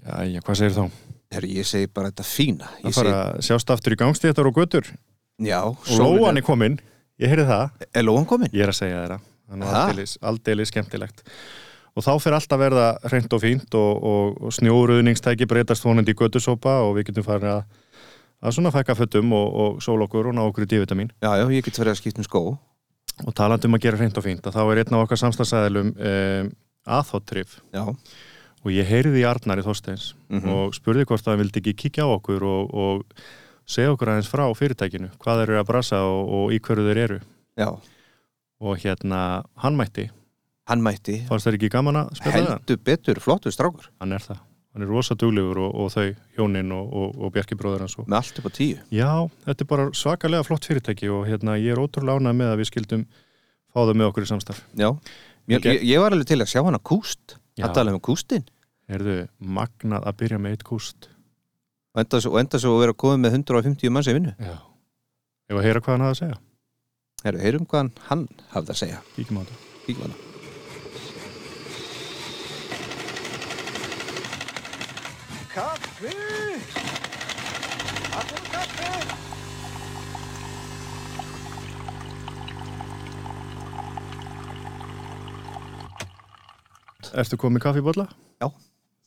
Jæja, hvað segir þá? Herru, ég segi bara þetta fína. Ég Það fara að sjást aftur í gangstéttar og götur segi, já, og lóan er komin, ég heyrði það Er lóan komin? ég er að segja þeirra, þannig Ha? að aldeilis, aldeilis skemmtilegt og þá fyrir allt að verða hreint og fínt og, og, og snjóruðningstæki breytast vonandi í götusópa og við getum farin að, að svona fækka fötum og, og sól okkur og ná okkur í divitamin Já, já, ég get verið að skipta um skó. og talandi um að gera hreint og fínt að þá er einn af okkar samstagsæðilum um, aðhóttrif Já, og ég heyrði í Arnari Þorsteins Mhm. og spurði hvort að hann vildi ekki kíkja á okkur og, og segja okkur aðeins frá fyrirtækinu hvað þeir eru að brasa og, og í hverju þeir eru já. og hérna, hann mætti Hann mætti. fannst þeir ekki gaman að spila það? Heldur betur, flottur strákur. Hann er það, hann er rosa duglegur og, og þau, Jónin og, og, og Bjarki bróður hans og Með allt upp á tíu. Já, þetta er bara svakalega flott fyrirtæki og hérna, ég er ótrúlega ánað með að við skildum fá það með okkur í samstarf Já. Mér, Ok. ég, ég var alveg til að sjá hana kúst. Já. Hann talaði um kústinn. Erðu magnað að byrja með eitt kúst? Og enda, svo- og enda svo að vera komið með 150 manns í vinnu. Já Ef að heyra hvað hann hafði að segja, Herru, heyrum hvað hann, hann hafði að segja. kíkjum á þetta Kíkjum á hana. Kaffi! Allir með kaffi! Ertu komið kaffibólla? Já.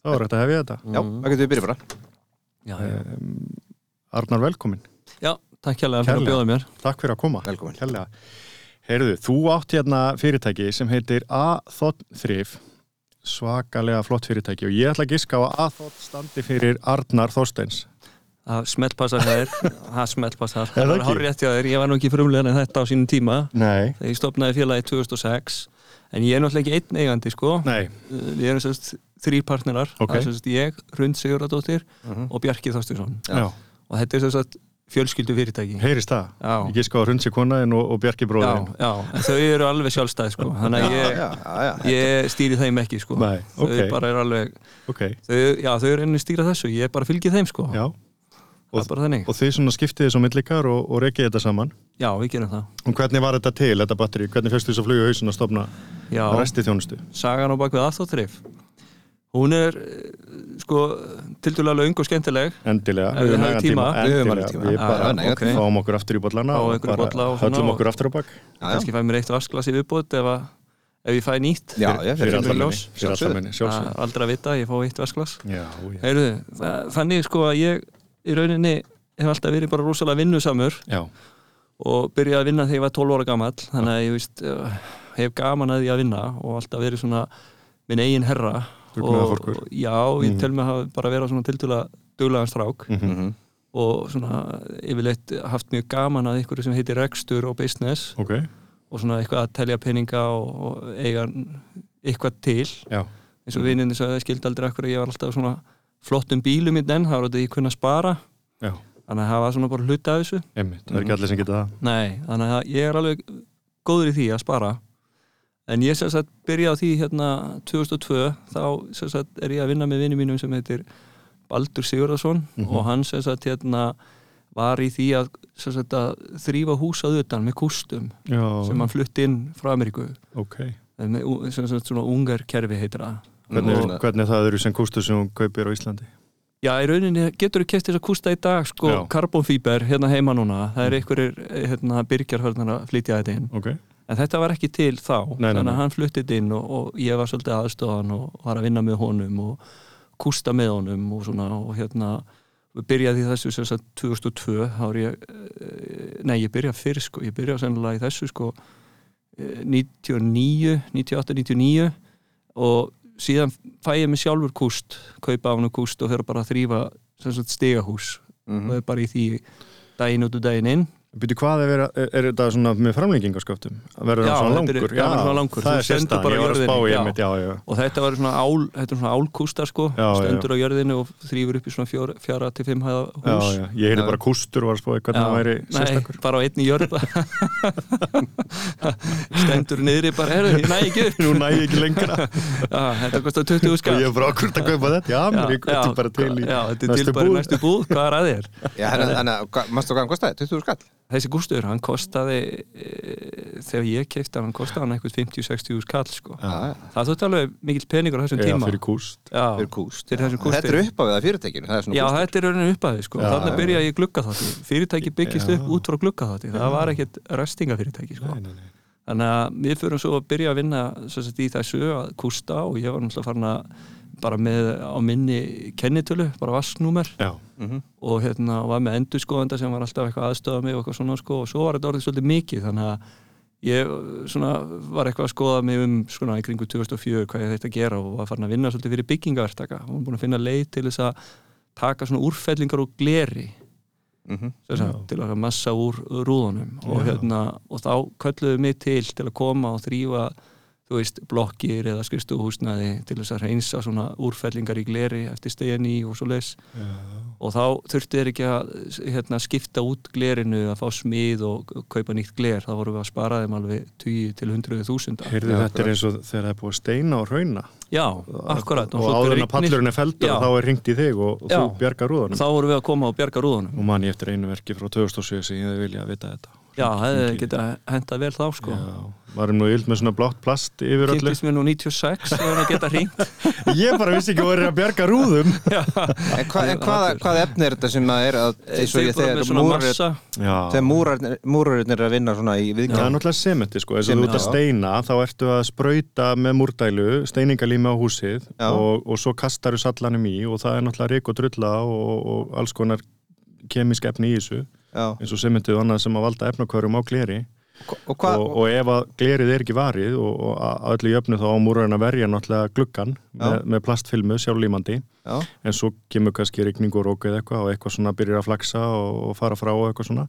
Þá er þetta hefja þetta Já, það getum við byrjað bara. Já, Eh, já. Arnar, velkomin. já takk hérlega fyrir Kærlega. að bjóða mér Takk fyrir að koma. Velkomin. Kærlega. Heyrðu, þú átt hérna fyrirtæki sem heitir A-Þotþrif, svakalega flott fyrirtæki og ég ætla að giska á að A-Þott standi fyrir Arnar Þorsteins. Það smellpassar það er, það Er smellpassar það Það var ekki? hár rétt hjá þér, ég var nú ekki frumlega en þetta á sínum tíma Nei. Þegar ég stopnaði félagi 2006 En ég er náttúrulega ekki einn eigandi sko Nei, Við erum sérst þrýr partnerar Ok. Mhm. Það er sérst ég, Rund Sigurðardóttir og Bjarki Þorstursson já. Og þetta er sérst fjölskyldu fyrirtæki Heyrist það? Já. Ég giska á Runsi konaðin og, og Bjarki Já, bróðin. já, en þau eru alveg sjálfstæð sko Þannig að Já, ég, já, já. ég stýri þeim ekki sko Nei, ok. Þau bara er alveg Ok, þau, Já, þau eru ennig stýra þessu, ég bara fylgi þeim sko já. Það er bara þannig Og þið svona skiptið þessu millikar og, og rekið þetta saman. Já, við gerum það Og hvernig var þetta til, þetta batteri? Hvernig fyrstu þess að fluga hausin að stopna Já, resti þjónustu? sagan á bakvið aðþóttrif Hún er eh, sko tildulega löng og skemmtileg Endilega, Ef við höfum nægan tíma. Við höfum Endilega, alveg tíma. við Já, bara já, nægan okay. tíma. fáum okkur aftur í bollana Fá og einhverja bolla og svona höllum og- okkur aftur á bak Já, já. kannski fæ mér eitt vasklasi viðbútt ef, að- ef ég fæ nýtt Já, já, fyrir kemur alla minni, í ljós, Ah. fyrir alla sjálfsögðu. minni, Það sjálfsögðu er aldrei að vita, ég fá eitt vasklas Já, já, Heyrðu, það- þannig sko að ég í rauninni hef alltaf verið bara rosalega vinnusamur já, og byrjaði að vinna þegar ég var 12 ára gamall þannig að ég veist, eh, hef gaman að því að vinna og alltaf verið svona minn eigin herra Dugnaðarforkur. og, já, ég tel mig að hafa bara verið svona tildulega duglegan strák Mhm. og svona yfirleitt haft mjög gaman að ykkur sem heitir rekstur og business ok, og svona eitthvað að telja peninga og, og eiga eitthvað til já, eins og vinninni svo að það skildi aldrei ekkur að ég var alltaf svona flottum bílum í den, það var þetta ég kunna spara já, þannig að það var svona bara hluta af þessu einmitt, það er Mhm. ekki allir sem geta það Nei, þannig að ég er alveg góður í því að spara en ég sem sagt byrja á því hérna 2002, þá sem sagt er ég að vinna með vinni mínum sem heitir Baldur Sigurðarsson og hann sem sagt hérna var í því að, sem sagt, að þrýfa húsað utan með kústum sem Já, hann flutti inn frá Ameríku ok, en með, ú- sem sagt svona ungar kerfi heitir það hvernig, Og- hvernig það eru sem kústu sem hún kaupir á Íslandi Já, í rauninni getur þú kæft þess að kústa í dag sko, Já. karbonfíber hérna heima núna það er einhverjir hérna, byrgjarhörnar að flytja þetta inn Ok, en þetta var ekki til þá Nei, nei, þannig nei. að hann fluttið inn og, og ég var svolítið aðstofan og var að vinna með honum og kústa með honum og svona og hérna við byrjaði í þessu sem sagt 2002 þá er ég, eh, nei ég byrjaði fyrr sko, ég byrjaði sennilega í þessu sko eh, 99 98, 99 og síðan fæ ég mig sjálfur kúst kaupa af hann kúst og fyrir bara að þrýfa sem sagt stigahús Mm. Mhm. og er bara í því daginn út og daginn inn Býtu hvað er, vera, er, er þetta svona með framlengingasköptum? Verður Já, það svona þetta er- langur? já, hann er svona langur. það Þú er stendur sérstæðan, bara ég var að á spá í jörðinni, einmitt, já, já, já. og þetta var svona, ál, þetta var svona álkústar sko, Já, já, já. stendur á jörðinu og þrýfur upp í svona fjóra, fjara til fimm hæða Já, hús já, ég heyrði bara kústur og var að spá í hvernig það væri nei, sérstakur bara á einni jörð stendur niðri bara, herru, ég næ ekki upp Nú næ ég ekki lengra já, þetta kostar 20 skall Ég er bara okkur að kaupa þetta Já, mér er þetta er bara til í já, þetta er til bara í næstu búð, hvað er að þér? Já, þannig að, mannstu hvað hann kostaði? 20 skall? þessi gústur, hann kostaði eh, þegar ég keipti hann, hann kostaði hann eitthvað 50-60 úr skall sko. Já, það þurfti alveg mikill peningur á þessum eða tíma fyrir kúst Já, fyrir kúst. fyrir þessum kústi. Þetta er upp á við það fyrirtækinu, það er svona Já, kústur. þetta er raunin uppaði sko. Já, þannig já. að byrja ég glugga þátti fyrirtæki byggist Já. upp út frá glugga þátti það var ekkert restingafyrirtæki sko. þannig að við fyrir svo að byrja að vinna sem sagt, í þessu að kústa og ég var náttúrulega farin að bara með á minni kennitölu, bara vassnúmer Já, Mhm. og hérna var með endurskoðanda sem var alltaf eitthvað aðstöða mig og eitthvað svona sko og svo var þetta orðið svolítið mikið þannig að ég uh, svona var eitthvað að skoða mig um svona í kringu 2004 hvað ég þetta gera og var farin að vinna svolítið fyrir byggingavertaka og var búin að finna leið til þess að taka svona úrfellingar og gleri Mhm. sem sagt, Já. til að massa úr rúðunum og, Já. hérna, og þá kölluðu mig til til að koma og þrýfa þú veist, blokkir eða skristuhúsnaði til þess að reynsa svona úrfellingar í gleri eftir stegjan í og svo leis og þá þurftu þeir ekki að hérna, skipta út glerinu að fá smið og kaupa nýtt gler, þá vorum við að spara þeim alveg 20 til 100 þúsunda heyrðu Já, þetta er eins og þegar það er búið að steina og rauna Já, akkurat og svo áður en rignir- að pallurinn er feldur Já. þá er ringt í þig og, og þú Já. bjargar rúðanum þá vorum við að koma og bjarga rúðunum og man ég eftir einu verki frá 2007 sem ég hefði viljað að vita þetta Já, það Hringt í- geta hentað vel þá sko Já, varum nú yld með svona blátt plast yfir öllu Kynntist mér nú 96 og hann geta hringt ég bara vissi ekki að vera að bjarga rúðum En, hva, en hvaða, hvaða efni er þetta sem að er að, eins og Þeir ég voru þegar með svona múrar, massa Já. þegar múrarnir, múrarnir er að vinna svona í það viðkjá? er náttúrulega sementi sko þess að þú Sementi, ert að já. steina þá ertu að sprauta með múrdælu steiningalími á húsið Já. og, og svo kastaru sallanum í og það er náttúrulega rík og drulla og, og alls konar kemísk efni í þessu Já. eins og sementið og annað sem að valda efnakvörum á gleri Og hvað, og, og ef að glerið er ekki varið og, og að- að öllu jöfnu þá á múrarinn að verja náttúrulega gluggan með, Já. með plastfilmu sjálflímandi já, en svo kemur kannski rigning og rók eða eitthvað og eitthvað svona byrjar að flaksa og, og fara frá og eitthvað svona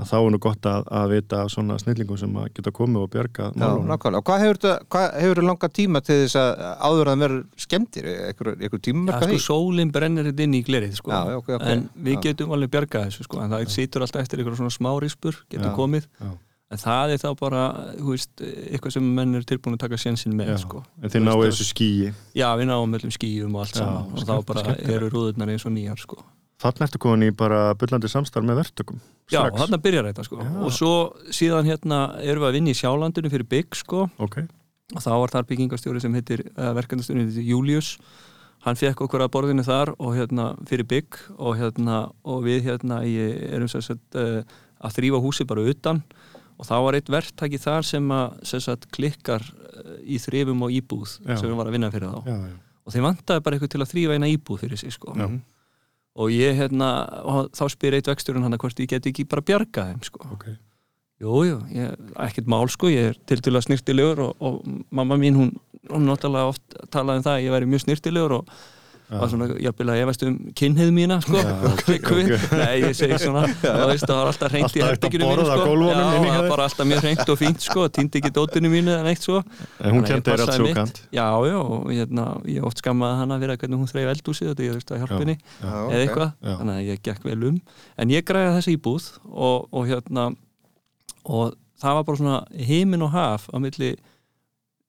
að þá er nú gott að, að vita af svona snillingum sem að geta komið og bjarga já, málunum. nákvæmlega. Og hvað hefur þetta, hvað hefur þetta langa tíma til þess að áður að það verður skemmtir, einhver, einhver Já, tímamarka sko, í? sólinn brennir þetta inn í glerið sko. Já, já, ok, ok. en við Já. getum alveg bjargað þessu sko. en það situr alltaf eftir einhverjum svona smárispur getur Já. komið Já. en það er þá bara þú veist, eitthvað sem menn eru tilbúin að taka sjensin með Já. sko. en þið náðu þessu skýi já við náum öllum skýjum og allt Já, saman og þá skemmt- bara skemmtilegt. eru rúðurnar eins og nýjar sko. þarna ertu komin í bara byllandi samstarf með verktökum já strax. þarna byrjar þetta sko. Já. og svo síðan hérna erum við að vinna í sjálandinu fyrir bygg sko. ok, og þá var þar byggingastjóri sem heitir uh, verkefnastjóri heitir Július hann fekk okkur að borðinu þar og hérna fyrir bygg og hérna og við hérna í, erum sem sagt uh, að þrýfa húsi bara utan og þá var eitt verktaki þar sem að sem sagt klikkar uh, í þrifum og íbúð Já. sem við var að vinna fyrir þá já, já, Mhm. og þeim vantaði bara eitthvað til að þrýfa eina íbúð fyrir sig sko já. og ég hérna og þá spyr eitt verkstjórun hann að hvort ég geti ekki bara bjargað þeim sko ok Jú, jú, ég, ekkert mál sko, ég er til til að snirtilegur og, og mamma mín hún, hún notalega oft talaði um það að ég væri mjög snirtilegur og var svona, jafnvel að ég veist um kynhið mína sko, Já, ok, klikku við, nei ég segi svona, þá veist það var alltaf reynd Alltaf hægt í að herbygginu mínu borða á sko, gólfunum já, inni hjá það þér. var bara alltaf mjög reynd og fínt sko, týndi ekki dótinu mínu eða neitt sko. en hún Þannig að ég kendi þér allt passaði svo mitt. kant Já, já, og hérna, ég oft skammaði hana fyrir að hvernig hún þreif eldúsið og ég þurfti að hjálpa henni Já, sko. eða ok. eitthvað, Já. þannig að ég gekk vel um en ég græði þessa íbúð og, og hérna og það var bara svona heimin og haf á milli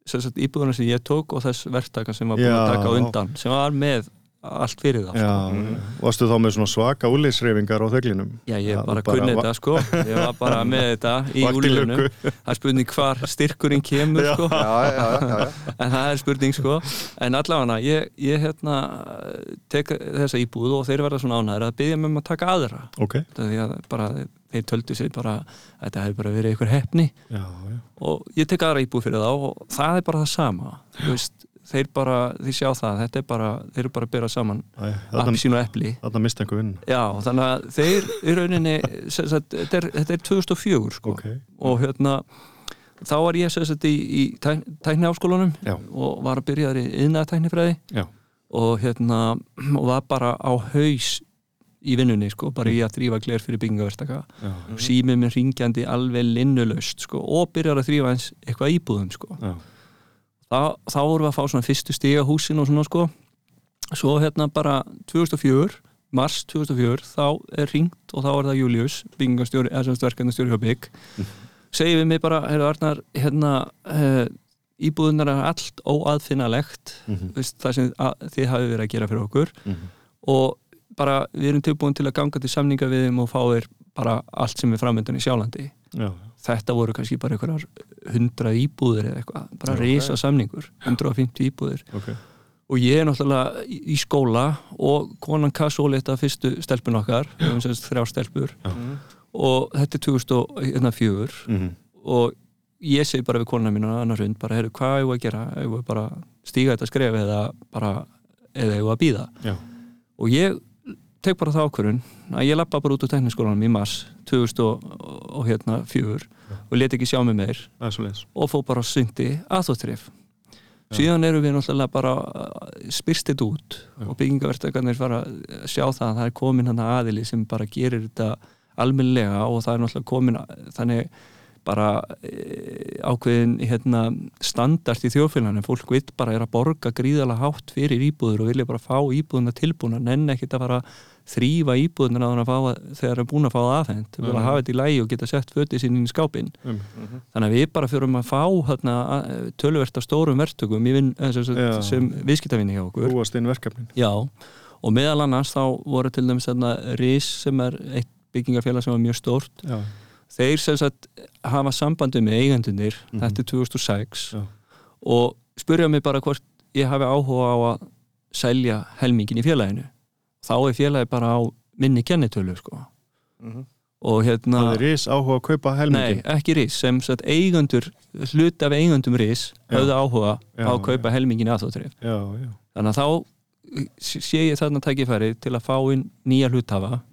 sem sagt, íbúðuna sem ég tók og þess verktaka sem var búin að Já. taka á undan sem var með allt fyrir það já, sko. já. varstu þá með svona svaka úlýsreifingar á þöglinum Já, ég Já, bara bara kunni va- þetta sko ég var bara með þetta í Vakti úlunum lukku. það er spurning hvar styrkurinn kemur sko Já, já, já, já, já. en það er spurning sko en allavega ég, ég hérna tek þessa íbúð og þeir verða svona ánæður að byggja mig um að taka aðra ok, Út af því að bara, þeir töldu sér bara að þetta hefur bara verið einhver hefni já, já og ég tek aðra íbúð fyrir þá og það er bara það sama Þú veist, þeir bara, þeir sjá það þetta er bara, þeir eru bara að bera saman Æ, þarna, appsín og epli þarna mista einhver vinn Já, þannig að þeir í rauninni, sem sagt, þetta er, þetta er 2004 sko ok, og hérna þá var ég sem sagt í, í tæk, tækni áskólanum já, og var að byrja í yðnaðatæknifræði já og hérna og var bara á haus í vinnunni sko, bara í að þrýfa gler fyrir byggingaverstaka já, mm. símið með ringjandi alveg linnulaust sko, og byrjar að þrýfa eins eitthvað íbúðum sko. já, þá, þá vorum við að fá svona fyrstu stiga húsin og svona sko svo hérna bara 2004 mars 2004 þá er ringt og þá er það Július, byggingastjóri eða sem stverkendastjóri hjá bygg segir við mig bara, herru Arnar hérna, uh, íbúðunar er allt óaðfinnalegt mhm, veist, það sem að, þið hafi verið að gera fyrir okkur mhm. og bara við erum tilbúin til að ganga til samninga við þeim og fá þeir bara allt sem er framöndan í sjálandi já, þetta voru kannski bara einhverjar 100 íbúðir eða eitthvað, bara Já, ok. reysa samningur 150 íbúðir ok og ég er náttúrulega í í skóla og konan Kassóli þetta fyrstu stelpun okkar, við höfum semst þrjá stelpur Mhm. og þetta er 2004 mm -hmm. og ég segi bara við konuna mína annar hund, bara heyrðu, hvað eigum við að gera eigum við bara að stíga þetta skref eða bara, eða eigum við að býða Já, og ég tek bara það ákvörun að ég lappa bara út úr tekniskólanum í mars 2004 hérna, fjögur og let ekki sjá mig meir það er svo leiðis og fó bara á sundi aðþóttrif síðan eru við náttúrulega bara eh, spyrst þetta út Já. og byggingavertakarnir fara að sjá það að það er komin hann aðili sem bara gerir þetta almennlega og það er náttúrulega komin þannig bara e, ákveðin hérna, standart í þjóðfélaginu fólk vill bara er að borga gríðalega hátt fyrir íbúður og vilja bara fá íbúðuna tilbúna nenn ekkit að fara að þrýfa íbúðuna að fá, að- þegar er búin að fá það aðfend við vilja Já. hafa þetta í lægi og geta sett fötið sín inn í skápinn um, þannig að við bara fyrum að fá hérna, að- töluvert af stórum verktökum í vin, eh, sem, Já. sem, sem viðskiptavinni hjá okkur Rúast inn verkefnin Já, og meðal annars þá voru til dæmis hérna, RIS sem er eitt byggingarfélag sem var mjög stórt Já, þeir sem sagt hafa sambandi með eigendunir, þetta er 2006 Mhm. Já. og spurja mig bara hvort ég hafi áhuga á að selja helmingin í félaginu þá er félagi bara á minni kennitölu sko Mhm. og hérna það er ris áhuga að kaupa Nei, helmingin ekki RIS, sem sagt eigandur, hlut af eigandum RIS Já. höfðu áhuga Já, á að kaupa helmingin aðþóttrif. Já, já, Þannig að þá eh, sé ég þarna tækifæri til að fá inn nýja hluthafa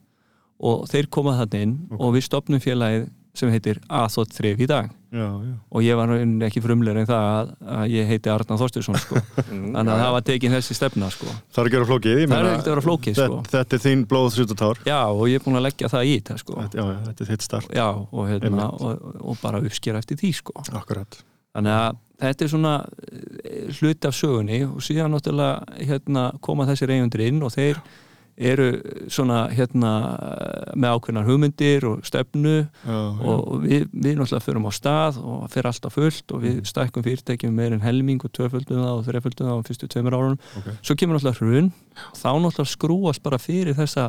og þeir koma þarna inn Ok. og við stopnum félagið sem heitir aðþóttrif í dag já, já og ég var nú einnig ekki frumlega en það að, að ég heiti Arna Þorstursson sko. þannig að það var tekin þessi stefna sko. Það er ekki að vera flókið ég Það er meina, ekkert að vera flókið, sko. þetta, þetta er þín blóð, sút og tár Já, og ég er búin að leggja það í þetta sko. þetta, já, já, þetta er þitt start Já, og, hérna, Einmitt. og, og bara uppskera eftir því sko. Akkurat þannig að þetta er svona eh, hluti af sögunni og síðan náttúrulega hérna, koma þessir eigundur inn og þeir eru svona hérna með ákveðnar hugmyndir og stefnu já, já. og við, við náttúrulega förum á stað og fyrir alltaf fullt og við stækkum fyrirtækjum meir en helming og tvöföldum það og þreföldum það á fyrstu tveimur árunum Ok. svo kemur náttúrulega hrun þá náttúrulega skrúast bara fyrir þessa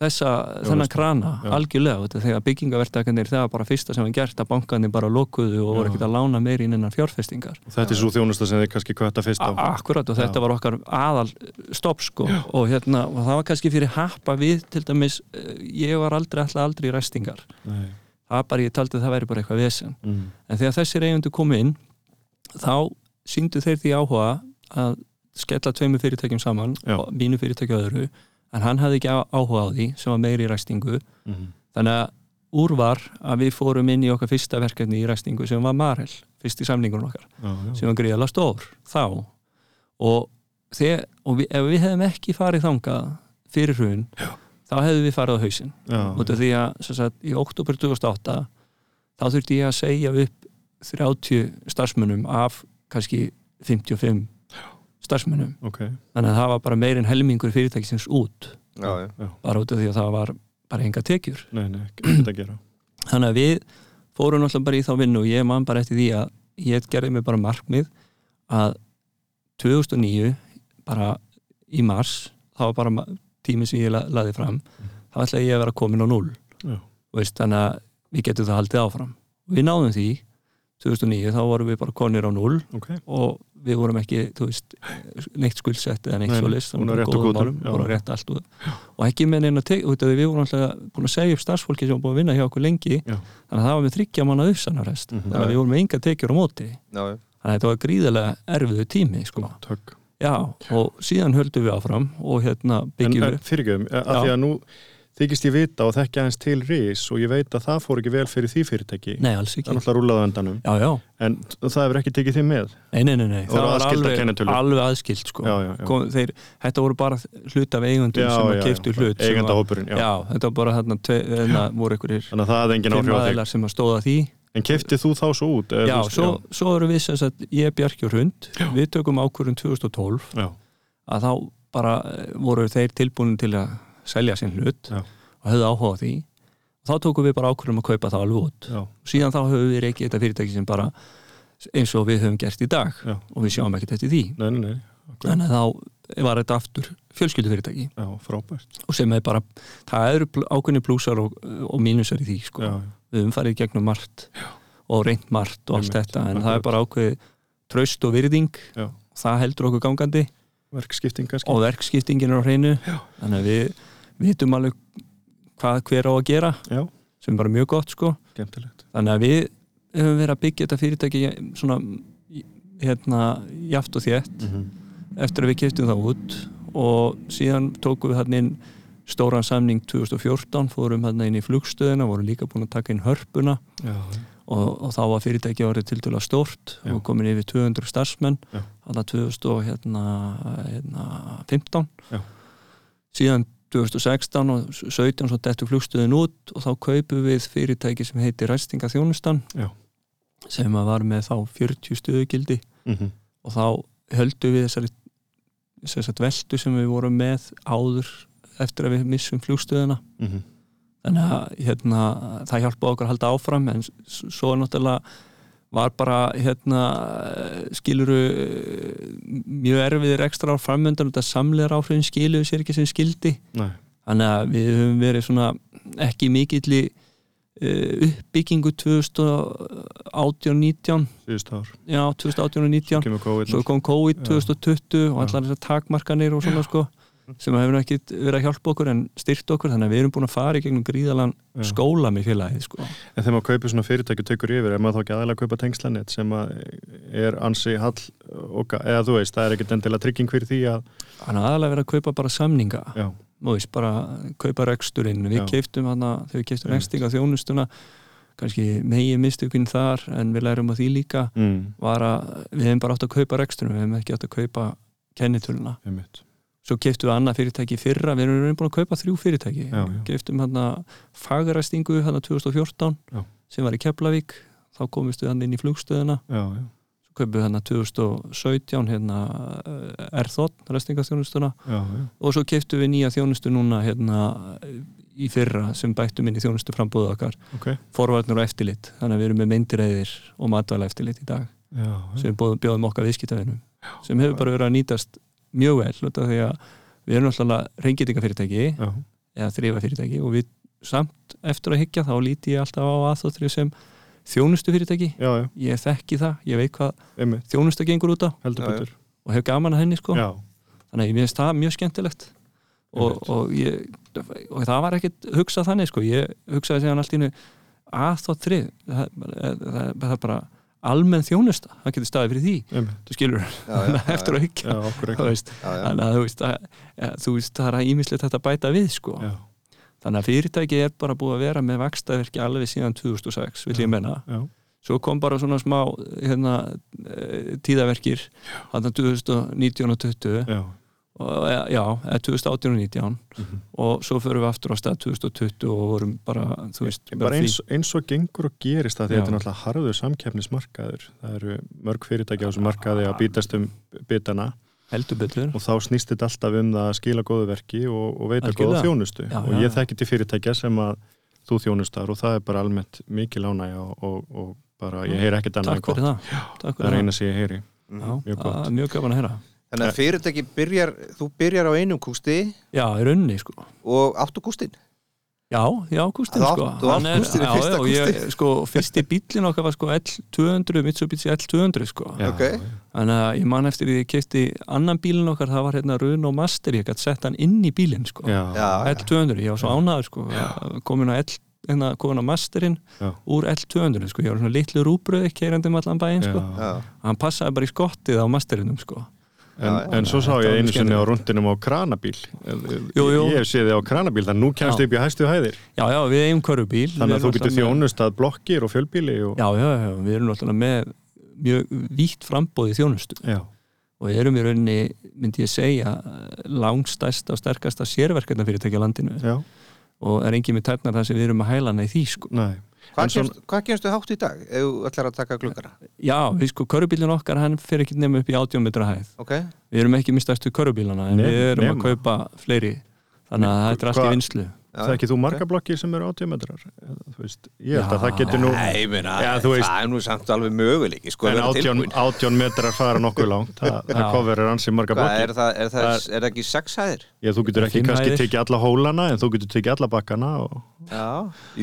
þessa, þennan veist. krana Já. algjörlega, þetta er þegar byggingavertakarnir það var bara fyrsta sem við gert að bankanir bara lokuðu og voru Já. ekkert að lána meir inn innan fjárfestingar Og Þetta er svo þjónusta sem þið kannski kvæta fyrst á A- Akkurat og þetta Já. var okkar aðal stopp sko og, hérna, og það var kannski fyrir happa við til dæmis, eh, ég var aldrei alltaf aldrei í restingar, Nei. það bara ég taldi að það væri bara eitthvað vesen, Mm. en þegar þessir eigundu komu inn, þá síndu þeir því áhuga að skella tveimur fyrirtækjum saman, Já. og mínu fyrirtæki og öðru, en hann hafði ekki á- áhuga á því sem var meiri í restingu, Mm. mhm. þannig að úr var að við fórum inn í okkar fyrsta verkefni í restingu sem var Marel, fyrst í samningunum okkar Já, já. sem var gríðarlega stór þá og, þegar, og við, ef við hefðum ekki farið þangað fyrir hrun þá hefðum við farið á hausinn Já, út af því að sem sagt, í oktober 2008 þá þurfti ég að segja upp 30 starfsmönnum af kannski 55 starfsmönnum ok þannig að það var bara meirinn helmingur fyrirtækisins út Já, já. bara út af því að það var bara enga tekjur Nei, nei, ekki þetta að gera þannig að við fórum alltaf bara í þá vinnu og ég man bara eftir því að ég gerði mig bara markmið að 2009 bara í mars þá var bara ma- tíminn sem ég la- laði fram þá ætlaði ég að vera komin á null Já. Þú veist, þannig að við getum það haldið áfram við náðum því 2009 þá vorum við bara konir á null Ok, og við vorum ekki þú veist, neitt skuldsett eða neitt Nei, nei, svoleiðs búin að rétta góðum kvótann, málum, já. búin að rétta allt út og ekki með neina tek, út af því við vorum alltaf búin að segja upp starfsfólki sem var búin að vinna hjá okkur lengi Já. þannig að það var með þryggja manna uppsanarrest Mhm. þannig að við vorum með enga tekjur á móti Já, já. þannig að þetta var gríðarlega erfiðu tími sko. tökk já, og síðan höldum við áfram og hérna En, byggjum en við fyrirgjöfum, af Já. því að nú þykist ég vita og þekki aðeins til ris og ég veit að það fór ekki vel fyrir því fyrirtæki nei, alls Það er ekki, náttúrulega rúlaðu endanum já, já En það hefur ekki tekið þið með nei, nei, nei, nei. Voru það var aðskildar alveg, kennitölur? alveg aðskilt sko. Já, já, já. Kom, þeir, þetta voru bara hlut af eigundum sem að keiftu hlut sem Eigenda að- hópurinn, já. já. þetta var bara þarna, tve, þarna voru einhverjir Þannig að það hefði engin fimm áhrif á þig aðilar sem að stóða því En keiftið þú þá svo út? eða já, þú- svo, svo eru við sem sagt ég, Bjarki og Hrund, við tökum ákvörðun 2012 já, að þá bara eh, voru þeir tilbúin til að selja sinn hlut Já. og höfðu áhuga á því þá tókum við bara ákvörðum að kaupa það alveg út já, síðan þá höfum við reikið þetta fyrirtæki sem bara eins og við höfum gert í dag Já. og við sjáum ekkert eftir því nei, nei, nei þannig að þá var þetta aftur fjölskyldufyrirtæki já, frábært og sem er bara, það eru pl- ákveðni plúsar og, og mínusar í því sko. já, við höfum farið í gegnum margt já. og reynt margt og allt Einmitt, þetta en akkurat. það er bara ákveð tröst og virðing Já. það heldur okkur gangandi verkskipting kannski og verkskiptingin er á hreinu já. þannig að við vitum alveg hvað hver á að gera Já. sem er bara mjög gott sko skemmtilegt þannig að við höfum verið að byggja þetta fyrirtæki eh, svona hérna jaft og þétt Mhm. eftir að við keftum það út og síðan tókum við hann inn stóran samning 2014 fórum hann inn í flugstöðina, vorum líka búin að taka inn hörpuna já, og, og þá var fyrirtæki orðið tildulega stórt Já. og komin yfir 200 starfsmenn Já. alla 2015 hérna, hérna, 15. Já. síðan 2016 og 17 svo dettu flugstöðin út og þá kaupum við fyrirtæki sem heiti Ræstinga Þjónustan Já. sem að var með þá 40 stöðugildi Mhm. og þá höldum við þessari þessari veldu sem við vorum með áður eftir að við missum flugstöðina Mhm. þannig að hérna, það hjálpaði okkur að halda áfram en s- svo náttúrulega var bara hérna, skiluru mjög erfiðir ekstra á framöndan þetta samlegar áhrifin skiluðu sér ekki sem skildi Nei. þannig að við höfum verið svona ekki mikill í uppbyggingu 2018-19 síðust ár, já, 2018-19 kemur COVID svo kom COVID Já. Mm. 2020 og allar þessar takmarkanir og svona sko sem hefur ekki verið að hjálpa okkur en styrkt okkur þannig að við erum búin að fara í gegnum gríðalan Já. skóla með félagið sko en þegar maður kaupir svona fyrirtæki og tekur yfir er maður þá ekki aðeinslega að kaupa tengslanett sem að er ansi hall og, eða þú veist, það er ekkit endilega trygging fyrir því að þannig að aðalega verið að kaupa bara samninga já, Nú veist, bara kaupa reksturinn við Já. keiftum hann að þegar við keiftum Einmitt. rekstinga þjónustuna kannski megi mistökinn þar en við lærum að því líka mm. var að við hefum bara átt að kaupa reksturinn við hefum ekki átt að kaupa kennitöluna einmitt svo keiftum við annað fyrirtæki í fyrra við erum í raun búin að kaupa þrjú fyrirtæki Já, já. keiftum hann fagræstingu hann 2014 Já. sem var í Keflavík þá komist við hann inn í flugstöðuna já, já, svo kaupum við hann 2017 hérna Erþótt, ræstingastjónustuna já, já. og svo keiftum við nýja þjónustu núna hérna í fyrra sem bættum inn í þjónustu frambúðu okkar ok forvarnir og eftirlit, þannig að við erum með myndiræðir og matvæla eftirlit í dag já, já. sem bóðum, bjóðum okkar viðskiptavinum sem hefur bara verið að nýtast mjög vel út af því að við erum alltaf reyngitingafyrirtæki Já. eða þrifafyrirtæki og við samt eftir að hyggja þá líti ég alltaf á aðþóttrið sem þjónustufyrirtæki já, já, ég þekki það, ég veit hvað einmitt, þjónusta gengur út á heldur Já, já. betur og hef gaman að henni sko já, þannig að ég finnst það mjög skemmtilegt og, Einmitt. og, ég, og það var ekkit hugsað þannig sko, ég hugsaði segjan allt í hennu aðþóttrið það, það, það, það er bara almenn þjónusta, það getur staðið fyrir því einmitt þú skilur já, já, eftir að hyggja já, okkur þú ekki veist, já, já. þannig að þú veist, að, að, þú veist það er að ímislegt þetta bæta við sko. já, þannig að fyrirtæki er bara búið að vera með vakstaverki alveg síðan 2006 vil ég menna, já, svo kom bara svona smá hérna, eh, tíðaverkir hann 2019 og 20 já, og, eh, já, eða 2018 og 19 Mhm. og svo förum við aftur á stað 2020 og vorum bara, þú veist bara því- eins, eins og gengur og gerist það því Já. þetta er náttúrulega harður samkeppnismarkaður það eru mörg fyrirtæki á þessum markaði að býtast um bitana heldur betur og þá snýst þetta alltaf um það að skila góðu verki og, og veita Algjörlega. góða þjónustu Já, og já, ég já. þekki til fyrirtækja sem að þú þjónustar og það er bara almennt mikil ánægja og, og, og bara ég heyri ekkert annað en takk fyrir það takk það fyrir er það eina sem ég heyri Já, mjög gott. það er mjög gaman að heyra Þannig að fyrirtæki byrjar, þú byrjar á einum kústi já, í rauninni sko og áttu kústin Já, já, Kústin Þú átt- sko þú átt Hann er- Kústin í já, fyrsta já, og ég, sko, Fyrsti bíllinn okkar var sko L200, Mitsubishi L200 sko Já, Ok. já, Þannig að ég man eftir því ég kefti annan bílinn okkar, það var hérna Runo Master, ég gæti sett hann inn í bílinn sko já, Já, L200, ég var svo ánaður sko komin á L hérna, komin á Masterinn Já. úr L200 sko, ég var svona litlu rúbröði keirandi um allan bæinn sko já. já, hann passaði bara í skottið á Masterinnum sko En, Já, já. en svo sá Þetta var ég einu mjög sinni á skemmtilegt. rundinum á kranabíl Jú, jú. Ég hef séð þið á kranabíl þannig að nú kemst Já. upp í hæstu hæðir Já, já, við eigum körubíl þannig Við að þú getur erum náttúrulega með- þjónust að blokkir og fjölbíli og... Já, já, já, við erum náttúrulega með mjög vítt frambóði þjónustu Já. og erum í rauninni, myndi ég segja langstæsta og sterkasta sérverkefna fyrirtækja landinu Já. og er engin með tærnar það sem við erum að hæla hana í því sko. Nei. En Hvað, svona- kemst, hvað kemstu hátt í dag ef þú ætlar að taka gluggara? Já, við sko, körubílun okkar hann fer ekki nefnum upp í 80 metra hæð Ok, við erum ekki mistastu körubílana en Nei, við erum nema. að kaupa fleiri þannig að þetta er allt í Hva- vinslu Já, það er ekki þú marga blokkir sem eru 80 metrar Eða, þú veist, ég held að Já. það getur nú Nei, ég meina, Já, þú það veist. er nú samt alveg möguleik sko, að en vera 18, tilbúin. 18 metrar fara nokkuð langt það, Já. það coverir ansi marga Hvað, blokkir er, það, er, það, Það er, það ekki sex hæðir? Já, þú getur ekki Fimm kannski hæðir. tekið alla hólana en þú getur tekið alla bakkana og... Já,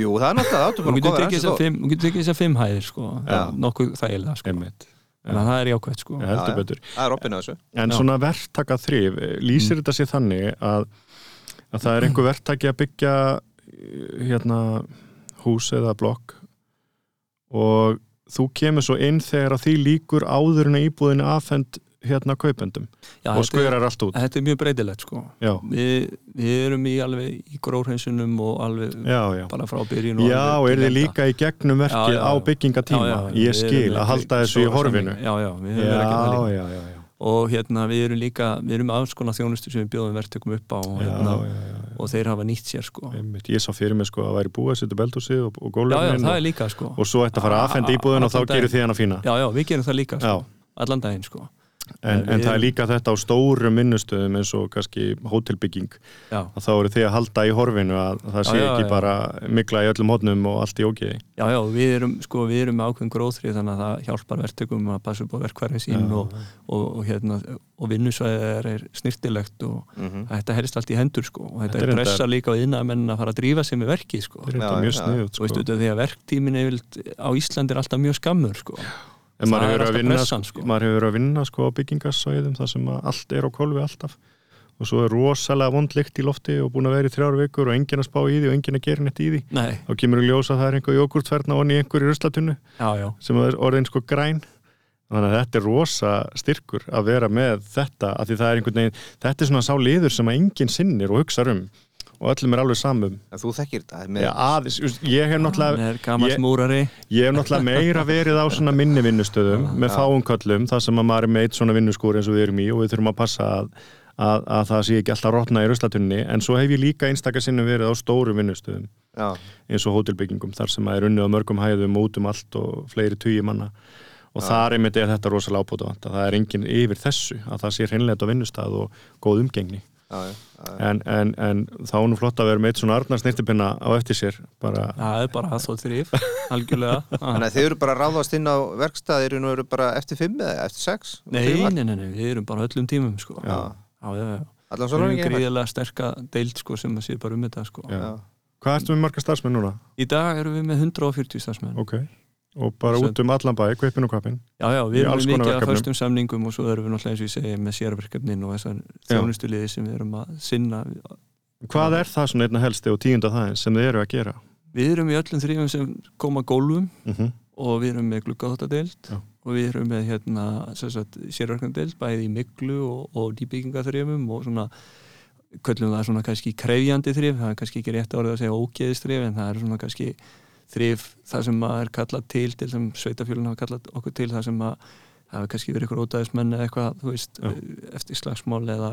jú, það er náttúrulega Þú átum getur tekið þessar fimm- þú getur tekið þessar fimm hæðir sko, Já. nokkuð þægilega sko. Einmitt. þannig að það er jákvæmt sko. Já, heldur betur. Það er opinn á þessu En Já. Mm. svona verktaka þrif lýsir þetta sér þannig að, að það er einhver verktaki að byggja eh, hérna hús eða blokk og þú kemur svo inn þegar að því líkur áður en að íbúðinu afhend hérna kaupendum Já, og þetta, skurar allt út. er, þetta er mjög breytilegt sko. Já, við, við erum í alveg í gróhreinsunum og alveg já, já. bara frá byrjun og Já, alveg er til þið enda. líka í gegnum verkið Já, já, á já. byggingatíma? Já, já, við ég erum skil með að halda þessu í stóra horfinu. samning. já, já, við Já, höfum verið að gera það líka. já, já, já. og hérna við erum líka við erum með alls konar þjónustu sem við bjóðum verktökum upp á og, Já, hérna, já, já, já. og þeir hafa nýtt sér sko. já, Einmitt, ég sá fyrir mig sko að væri búið að setja beldhúsið og, og já, gólöfnin það og, er líka sko. og svo ætti að fara að afhenda íbúðin og þá Allan daginn. gerir þið hana fína já, já, við gerum það líka Já. sko. allan daginn sko. en, Við en það erum- er líka þetta á stórum minnustöðum eins og kannski hótelbygging já. að þá eru þið að halda í horfinu að það Já, sé já, ekki já. bara mikla í öllum hodnum og allt í ógeði já, já, við erum, sko, við erum með ákveðin gróðrið þannig að það hjálpar verktökum að passa upp á verkverðin sín og, og, og, hérna, og vinnusvæðið er, er snirtilegt og þetta helst allt í hendur sko. og Mm. Þetta þetta, er þetta reyndar- pressar líka á innamenn að fara að drífa sig með verki sko. það er Já, þetta mjög já. sniðut Þú veist, sko. út af því að verktímin yfirleitt á Íslandi er alltaf mjög skammur sko. en maður það hefur er verið alltaf að vinna, pressan, sko. sko. maður hefur verið að vinna sko, á byggingarsvæðum þar sem að allt er á kolvi alltaf og svo er rosalega vondlikt í lofti og búin að vera í þrjár vikur og enginn að spá í því og enginn að gera neitt í því Nei, þá kemur í ljós að það er einhver jógurtverna onni í einhverju ruslatunnu já, já sem er orðin sko græn þannig að þetta er rosa styrkur að vera með þetta af því það er einhvern veginn þetta er svona sá liður sem að enginn sinnir og hugsa um og öllum er alveg samum En þú þekkir þetta með Já, aðeins, þú veist, ég hef Hann náttúrulega er gammal ég- múrari ég hef náttúrulega meira verið á svona minni vinnustöðum með fáum köllum, þar sem að maður er meitt svona vinnuskúri eins og við erum í og við þurfum að passa að, að, að það sé ekki alltaf rotna í ruslatunni en svo hef ég líka einstakar sinnum verið á stórum vinnustöðum Já, eins og hótelbyggingum þar sem að er unnið á mörgum hæðum og út um allt og fleiri tugi manna og þar einmitt er þetta rosalega ábúta vant að það er enginn yfir þessu að það sé hreinlega þetta vinnustæð og góð umgengni já, já, já. en, en, en þá er nú flott að vera með eitt svona Arnar snirtipinna á eftir sér bara, Það er bara þó þrýf, algjörlega Ah. Þannig að þið eru bara að ráðast inn á verkstæðir og eru bara eftir fimm eða eftir sex Nei, nei, nei, nei, við erum bara á öllum tímum sko. Já. já, já, já. Allan Við svo erum langi gríðilega sterka deild sko, sem að sé bara um þetta sko. Já. Já, hvað ertu með marga starfsmenn núna? Í dag erum við með 140 starfsmenn ok, og bara Sem- út um allan bæ kveipin og kvapin, Já, já, Í við erum alls með konar mikið að verkefnum. föstum samningum og svo erum við náttúrulega eins og ég segi með sérverkefnin og þessar Já. þjónustuliði sem við erum að sinna hvað er það svona einna helsti og tíunda þaðin sem þið eru að gera? Við erum í öllum þrýfum sem koma gólfum Mm og við erum með gluggaþóttadeild Já. og við erum með hérna, sem sagt, sérverknadeild bæði í miklu og, og dýbyggingaþrifum og svona köllum það svona kannski krefjandi þrif það er kannski ekki rétt orðið að segja ógeðisþrif en það er svona kannski þrif það sem maður er kallað til til sem sveitafjölun hafa kallað okkur til það sem að það hefur kannski verið ykkur ótaðismenn eða eitthvað þú veist, Já. eftir slagsmál eða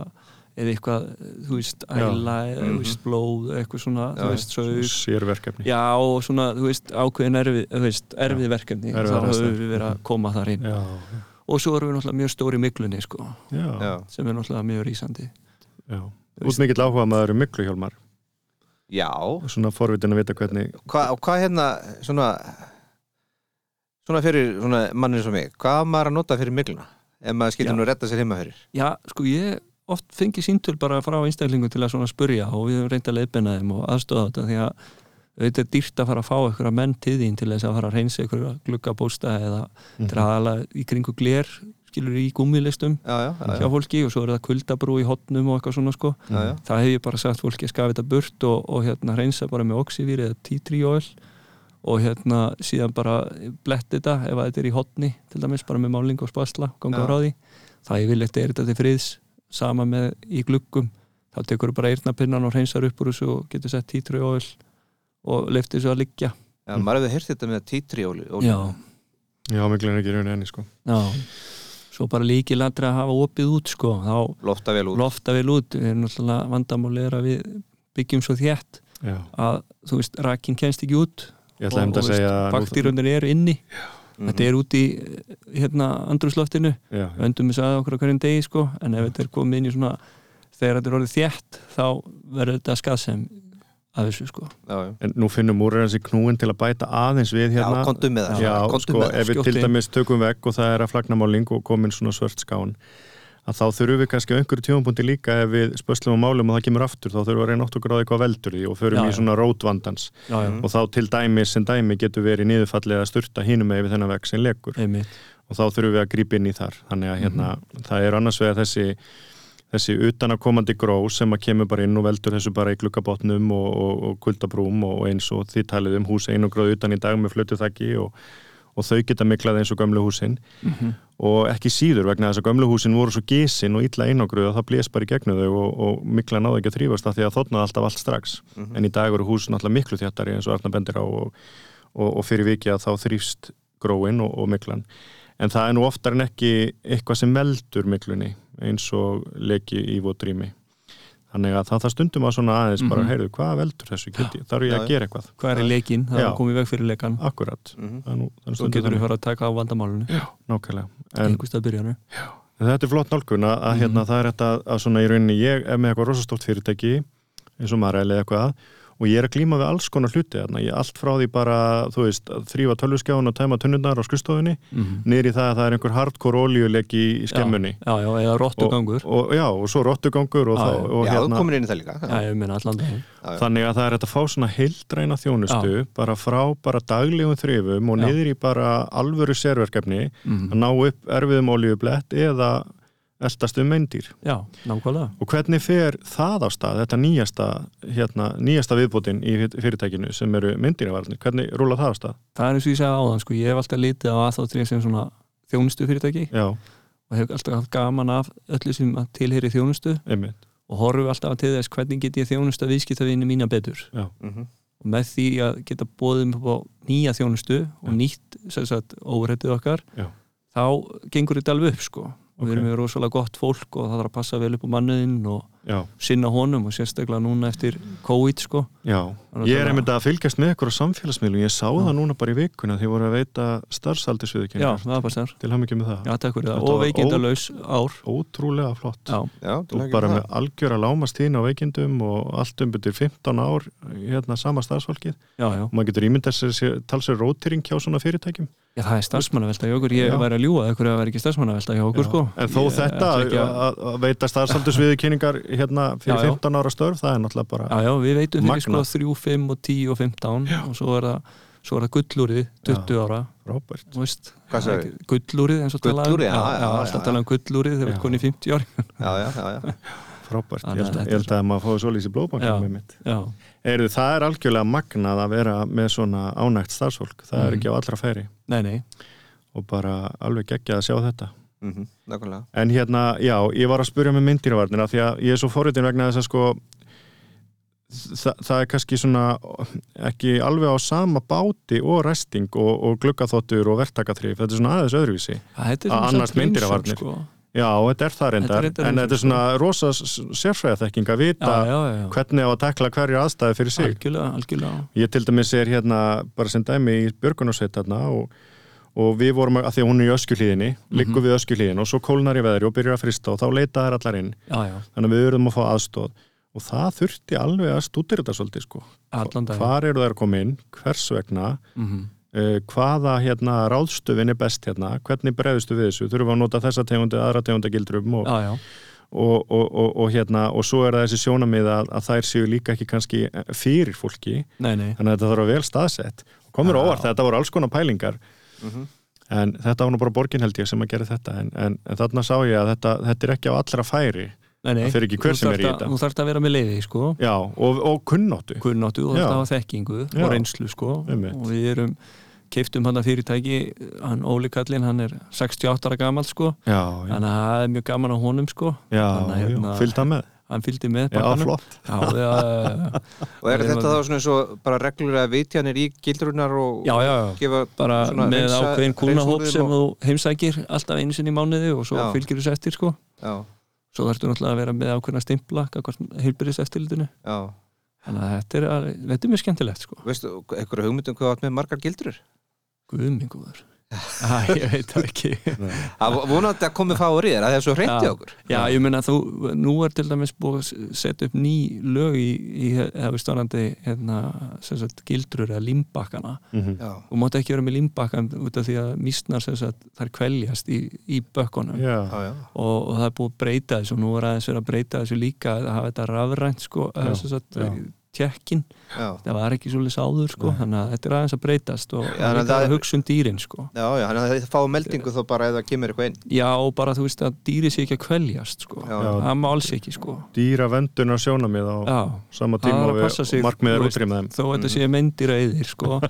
eða eitthvað, þú veist, Já. Mhm. æla eða, þú veist, blóð, eitthvað svona, Já, þú veist, saug sérverkefni Já, og svona, þú veist, ákveðin erfið, þú veist, erfið verkefni Erfið þá höfum aðstæður. við verið að koma þar inn já, og svo erum við náttúrulega mjög stóri miklunni, sko, já, já, já. sem er náttúrulega mjög rísandi út mikill áhuga maður um mikluhjálmar já. svona forvitin að vita hvernig Hva, og hvað hérna svona svona fyrir svona manni eins og mig hvað á maður að nota fyrir mikluna ef maður Já. skilur nú að retta sér heima fyrir Já, sko, ég oft fengi síntöl bara frá einstaklingum til að svona spurja og við höfum reynd að leiðbina þeim og aðstöða þetta því að þetta er dýrt að fara að fá einhverja menn til þín til þess að fara að reynsa einhverja gluggabósta eða Mhm. draðala í kringu glér, skilur í gummilistum já, já, já, hjá já, fólki og svo er það kuldabrú í hotnum og eitthvað svona, sko já, já. það hef ég bara sagt fólki að skafa þetta burt og, og hérna reynsa bara með oxyvíri eða títrióil og hérna síðan bara bletti þetta ef að þetta er í hotni til dæmis bara með málingu og spasla ganga Já. frá því það ég vil eitthvað er þetta til friðs sama með í gluggum þá tekur þú bara eirnapinnan og reynsar upp úr þessu og getur sett títrióil og leifti þessu að liggja já maður hefur heyrt þetta með títrióli og Mm. já, já, miklun er ekki raunin enni sko já svo bara líki landra að hafa opið út sko þá lofta vel út lofta vel út við erum náttúrulega vandamáli er að við byggjum svo þétt já. að þú veist, rakin kennst ekki út ég ætla og, að og segja baktýrunir eru inni Mhm. þetta er úti eh, hérna andrúsloftinu, Já, öndum við sagði okkur á hverjum degi sko, en ef þetta er komið inn í svona þegar þetta er orðið þétt þá verður þetta skað sem af þessu sko já, já. en nú finnum úr þessi knúin til að bæta aðeins við hérna já kontum með það Já, svona, komdu sko, með það. ef við skjótt til inn. dæmis tökum vekk og það er að flagnamáling og komin svona svört skán að þá þurfum við kannski á einhverju tímapunkti líka ef við spöslum á málum og það kemur aftur þá þurfum við að reyna átt okkur á því hvað veldur því og förum í Já, já. svona rótvandans já, já, og þá til dæmis sem dæmi getur verið niðurfallið að sturta hínum með við þennan vekk sem lekur einmitt og þá þurfum við að grípa inn í þar þannig að hérna, það er annars vegar þessi þessi utanakomandi gró sem að kemur bara inn og veldur þessu bara í glukkabotnum og, og, og kuldabrúm og, og eins og því talið um hús einograð utan í dag með flötu þakki og, og þau geta miklað eins og gömlu húsin Mhm. og ekki síður vegna þess að gömlu húsin voru svo gísin og illa einogruð að það blés bara í gegnum þau og, og mikla náði ekki að þrýfast það því að þónaði alltaf allt strax Mhm. en í dag eru húsin alltaf miklu þjættari eins og Arna bendir á og, og, og fyrir vikið að þá þrýfst gróin og, og miklan en það er nú oftar en ekki eitthvað sem meldur miklunni eins og leki í votrými þannig að það, það stundum að svona aðeins bara Mhm. heyrðu hvað veldur þessu geti, þarf ég Já, að gera eitthvað hvað er í leikinn, það er Já. að koma í veg fyrir leikan akkurat, Mhm. það er nú það er svo stundum getur þannig. við fara að taka á vandamálunni nákvæmlega en, einhverstað byrjanu En Þetta er flott nálgun að, að Mhm. hérna, það er þetta að, að svona í rauninni ég er með eitthvað rosastórt fyrirtæki eins og maður eða eitthvað og ég er að glíma við alls konar hluti þarna. Ég allt frá því bara, þú veist, að þrýfa tölvuskjáin og tæma tunnunar á skristofinni niður í það að það er einhver hardcore olíuleik í, í skemmunni. já, já, eða rottugangur Og, og, já, og svo rottugangur og, Já, þá, já. og já, þú hérna, komir inn í það líka já, ég meina allan dag þannig að það er þetta að fá svona heildræna þjónustu bara frá bara daglegum þrifum og Já. Mhm. niður í bara alvöru sérverkefni að ná upp erfiðum olíublett eða eldast um meindýr. já, nákvæmlega Og hvernig fer það á stað, þetta nýjasta, hérna, nýjasta viðbútin í fyr- fyrirtækinu sem eru myndinarvarnir, hvernig rúla það á stað? það er eins og ég segja áðan, sko, ég hef alltaf litið á A3 sem svona þjónustu fyrirtæki Já, og hef alltaf haft gaman af öllu sem að tilheyri þjónustu einmitt, og horfum alltaf til þess hvernig get ég þjónusta viðskiptavinni mína betur Mhm. og með því að geta bóðum á nýja þjónustu og nýtt sem sagt órættið okkar Já. þá gengur þetta alveg upp sko og Ok. við erum með rosalega gott fólk og það þarf að passa vel upp á manniðinn og já, sinna honum og sérstaklega núna eftir COVID sko já. Þannig að Ég er það- einmitt að fylgjast með ykkur á samfélagsmiðlum, ég sá það núna bara í vikuna þegar voru að veita já, starfsaldisviðurkenningar, það er bara sér til hafum ekki með það. já, takk fyrir það Þetta og var veikindalaus ár Ótrúlega flott. já, já, til Og hamingju bara með með algjöra lámastíðin á veikindum og allt um betur 15 ár hérna sama starfsfólkið já, já, og maður getur ímyndað sér- sér talsir rótýring hjá svona fyrirtækjum já, það er starfsmannavelta hjá okkur ég Já. væri að ljúga að ykkur að það væri ekki starfsmannavelta hjá okkur Já. sko En þó Ég þetta ætla ekki að, að, að veita starfsaldusviðu kynningar hérna fyrir Já, já. 15 ára störf, það er náttúrulega bara Já, já, við veitum fyrir sko Magnað. 3, 5 og 10 og 15 og svo er það, svo er það gullúrið 20 ára, frábært. þú veist Hvað sagði? Gullúrið, eins og talað um Gullúrið, já, já, já, alltaf já. talað um gullúrið þegar við Já. konið 50 ári það. já, já, já, já. frábært. Ég Þannig að held, að- þetta ég held er- að maður fóði svolítið í Já. blóðbankum með mitt. Já, Eru, það er algjörlega magnað að vera með svona ánægt starfsfólk, það er Mhm. ekki á allra færi nei, nei, og bara alveg geggjað að sjá þetta. Mhm, nákvæmlega En hérna, já, ég var að spurja með myndirvarnina því að ég er svo forritin vegna þess að sko það, það er kannski svona ekki alveg á sama báti og resting og, og gluggaþottur og verktakaþrif, þetta er svona aðeins öðruvísi. það þetta er Að svona annast myndir af Brimson, varnir. sko. Já, þetta er það reyndar, reyndar en eins og þetta er svona rosa sérfræðathekking að Já, vita já, já, já, hvernig á að tekla hverju aðstæði fyrir sig. algjörlega, algjörlega Ég til dæmis er hérna bara sem dæmi í Björgunarsveit þarna og, og við vorum að af því að hún er í öskjuhlíðinni, Mhm. liggum við öskjuhlíðin og svo kólnar í veðri og byrjar að frista og þá leita þær allar inn, Já, já, þannig að við verðum að fá aðstóð og það þurfti alveg að stútir þetta svolítið sko. allan dag Hvar eru þær að koma inn, hvers vegna, Mhm. uh, hvaða hérna ráðstöfin er best hérna, hvernig bregðustu við þessu, þurfum við að nota þessa tegundi, aðra tegundi gildrum og, Já, já, og, og, og, og hérna og svo er það þessi sjónamið að, að þær séu líka ekki kannski eh, fyrir fólki nei, nei þannig að þetta þarf að vera vel staðsett og komur Já. á óvart, þetta voru alls konar pælingar Mhm. en þetta var nú bara borgin held ég sem að gera þetta en, en, en þarna sá ég að þetta, þetta er ekki á allra færi Nei, nei, Það fer ekki hver Þú sem er í þarft að- þetta. Þú þarft að vera með leiði, sko já, og, og kunnáttu kunnáttu og Já. þetta var þekkingu Já. og reynslu sko Einmitt. og við erum keiftum hann að fyrirtæki hann Óli Kallin, hann er 68 ára gammal sko, já, já, þannig að það er mjög gaman á honum sko, já, þannig að já hérna- fylgta með, hann fylgdi með já, pakkanum. flott já, já, já, og er Við erum þetta að- þá svona eins og bara reglur að vitjanir í gildrunar og já, já, já. gefa bara Svona með hreinsa- ákveðin kúnahóp hreinsa úr sem þeim þú heimsækir alltaf einu sinni í mánuði og svo Já. fylgir þessu eftir sko já, svo þarftu náttúrulega að vera með ákveðina stimpla heilbyrðis eftirlitinu já, þannig að þetta er, að, þetta er mjög skemmtilegt sko um veistu, einhverju hugmyndum hvað þú átt með margar gildrur guðmingur Æ, ég veit það ekki að vonandi að komið fáur í þér að það er svo hreint í okkur Já, ég meina þú, nú er til dæmis búið að s- setja upp ný lög í, í hefur stórandi hérna, sem sagt, gildrur eða limbakkana Mhm. já, og mátt ekki vera með limbakkan út af því að mísnar sem sagt, þær kveljast í, í bökkunum Já, já, já, og, og það er búið að breyta þessu og nú er aðeins verið að breyta þessu líka að hafa þetta rafrænt sko, Já, já, sagt, já. tjekkin, já. það var ekki svolítið sáður sko, þannig að þetta er aðeins að breytast og Já, það er en líka það- að hugsa um dýrin sko. Já, já, þannig að þið fá meldingu þó bara ef það kemur eitthvað inn já og bara þú veist að dýri sé ekki að kveljast sko. Já, Já. það má alls ekki sko. dýra vendunar sjónamið á já, sama það tíma og er að passa við sig markmiðar þú veist, útrýma þeim þó þetta Mm. sé myndir að yðir sko.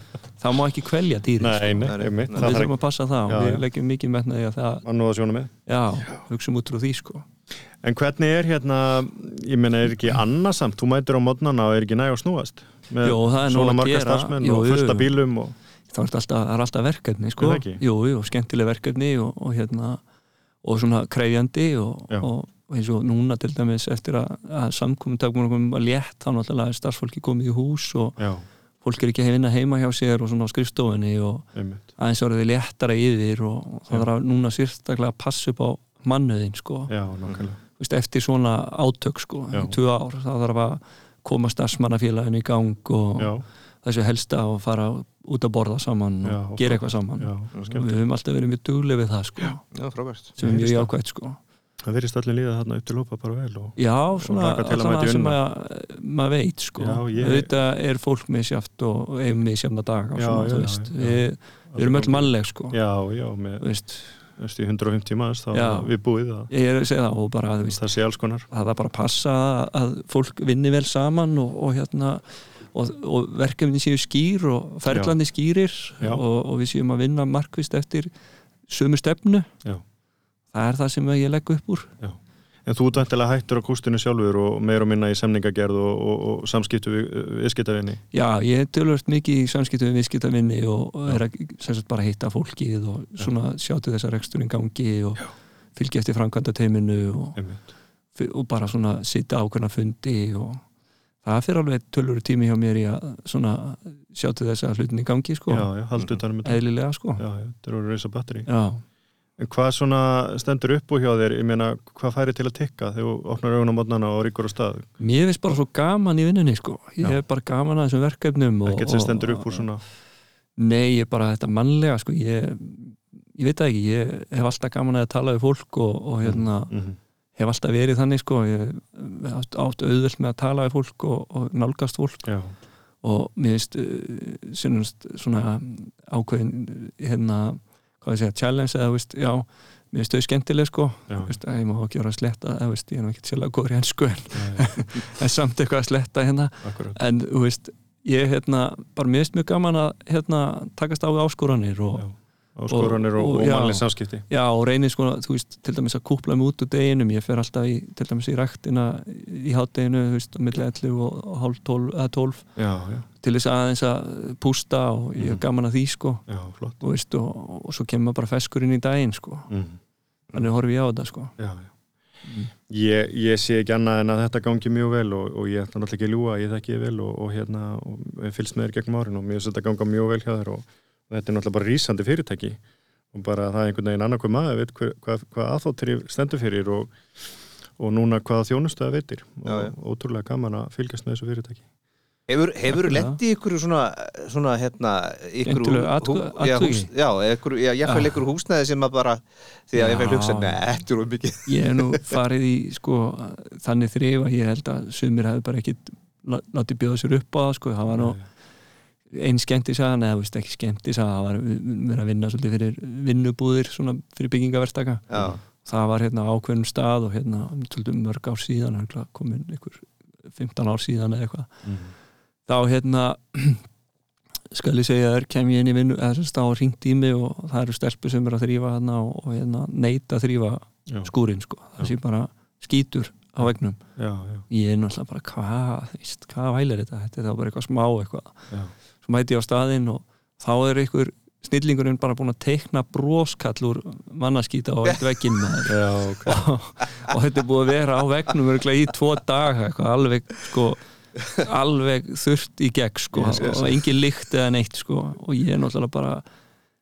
það má ekki kvelja dýrin Nei, sko. nei, Nei, nei. einmitt, Þannig það við þarf þurfum að passa það Já, og já. við leggjum mikið metnaði að það ekki annúða sjónamið já, hugsaum út frá því sko. En hvernig er hérna, ég meina er ekki annarsamt, þú mætir á modnana og er ekki næg að snúast með Jó, það er nóg svona að marga gera. starfsmenn Jú, og fullta jú. bílum og, það er alltaf, það er alltaf verkefni Er sko. það ekki? jú, jú, skemmtileg verkefni og, og hérna og svona krefjandi og, Já. og og eins og núna til dæmis eftir að, að samkominn takmum að létt þá náttúrulega er starfsfólki komið í hús og já, fólk er ekki að vinna heima hjá sér og svona á skrifstofunni og einmitt aðeins orðið léttara yfir og og það er að núna sérstaklega að passa upp á mannöðin sko, Já, nákvæmlega Þú veist, eftir svona átök sko, Já. í tvö ár, það þarf að koma starfsmannafélaginu í gang og Já, þessu helsta og fara út að borða saman og Já, og gera sko- eitthvað saman já, og skemmt við höfum alltaf verið mjög duglega við það sko, Já, frábært sem er Ég mjög heyri jákvæmt sko. Það verðist allir líða þarna upp til hópa bara vel og já, svona hlakka til að alltaf mæta í það sem vinnuna. maður maður veit sko. Já, ég- auðvitað er fólk misjátt og og eigum misjáfna dag og Já, svona, já, þú já, veist já. Við, við erum öll mannleg sko. Já, já, með Þú veist, veist, í 150 manns þá Já. við búið að ég er að segja það og bara þú veist, það sé alls konar það er bara að passa að- að fólk vinni vel saman og, og hérna og, og verkefni séu skýr og ferlandi skýrir Já. Og, og við séum að vinna markvist eftir sömu stefnu Já. það er það sem ég legg upp úr En þú ert vantilega hættur á kústinu sjálfur og meira og minna í semningagerð og, og, og samskiptu við, viðskiptavinni já, ég er tölvöld mikið í samskiptum við viðskiptavinni og og er að sem sagt, bara hitta fólkið og svona sjáttu þessa reksturinn gangi og fylgja eftir framkvæmda teiminu og, Einmitt, og bara svona sitja ákveðna fundi og það fyrir alveg tölvöld tími hjá mér í að svona sjáttu þessa hlutinni gangi sko já, já, haldu utanum þetta eðlilega sko já, Já, já, þetta eru að reysa batteri já. En hvað svona stendur upp úr hjá þér, ég meina, hvað færi til að tikka þegar þú opnar augun á modnana og ríkur á stað? mér finnst bara svo gaman í vinnunni sko ég Já. hef bara gaman að þessum verkefnum og, Ekkert sem og- stendur upp úr svona, nei, ég er bara þetta mannlega sko ég, ég veit það ekki, ég hef alltaf gaman að tala við fólk og, og hérna mhm, hef alltaf verið þannig sko ég hef átt, átt auðvöld með að tala við fólk og, og nálgast fólk já, og mér finnst uh, sinnumst svona ákveðin hérna, hvað ég segja, challenge eða þú veist, já, mér finnst þau skemmtileg sko já, Þú veist, að ég má ekki vera að sletta eða, þú veist, ég er nú ekkert sérlega góður í ennsku en, já, en samt eitthvað að sletta hérna akkurat, en þú veist, ég hérna bara mér finnst mjög gaman að hérna takast á við áskoranir Já. og já, áskoranir og, og- og, og já. mannleg samskipti. og reynir sko, þú veist, til dæmis að kúpla mig út úr deginum, ég fer alltaf í til dæmis í ræktina í hátdeginu þú veist, á milli 11 og og hálf 12, eða 12 Já, já, til þess aðeins að pústa og ég hef Mhm. gaman að því sko já, flott. og, veist, og, og svo kemur maður bara feskur inn í daginn sko, Mm. þannig horfi ég á þetta sko Já, já. Mm. Ég, ég sé ekki annað en að þetta gangi mjög vel og, og ég ætla náttúrulega ekki að ljúa, ég þekki ég vel og, og hérna, og ég fylgst með þér gegnum árin og mér finnst þetta ganga mjög vel hjá þér og, og þetta er náttúrulega bara rísandi fyrirtæki og bara það er einhvern veginn annað hvað maður veit hver, hvað, hvað aðþóttir stendur fyrir og, og núna hvaða þjónustu það veitir og Já, já. ótrúlega gaman að fylgjast með þessu fyrirtæki. Hefur, hefur Já. lendi ykkur svona, svona hérna, ykkur, Skemmtilegu hú- atgu- hú- já, athugi. hús, já, ykkur, já, ég fæl ykkur húsnæði sem að bara, því að ég fæl Já. hugsa, neður og mikið ég hef nú farið í sko, þannig þrif að ég held að sumir hefði bara ekki látið bjóða sér upp á það sko. það var nú einn skemmtisaga neða veist, ekki skemmtisaga, það var verið að vinna svolítið fyrir vinnubúðir svona, fyrir byggingaverstaka Já, það var hérna á ákveðnum stað og hérna svolítið mörg ár síðan örugglega komin ykkur 15 ár síðan eða eitthvað Mm. þá hérna skal ég segja þér, kem ég inn í vinnu eða sem stað og ringt í mig og það eru stelpur sem er að þrýfa hérna og, og hérna neita að þrýfa Já, skúrin sko, það sé bara skítur á vegnum, já, já, ég er náttúrulega bara hvað, þú veist, hvað vælir þetta þetta er þá bara eitthvað smá eitthvað já. svo mæti ég á staðinn og þá er einhver snillingurinn bara búin að teikna broskall úr mannaskýta á eitt vegginn með Já, ok. og, og þetta er búið að vera á vegnum örgulega í tvo daga eitthvað, alveg sko alveg þurft í gegn sko Ég skil. og engin lykt eða neitt sko og ég er náttúrulega bara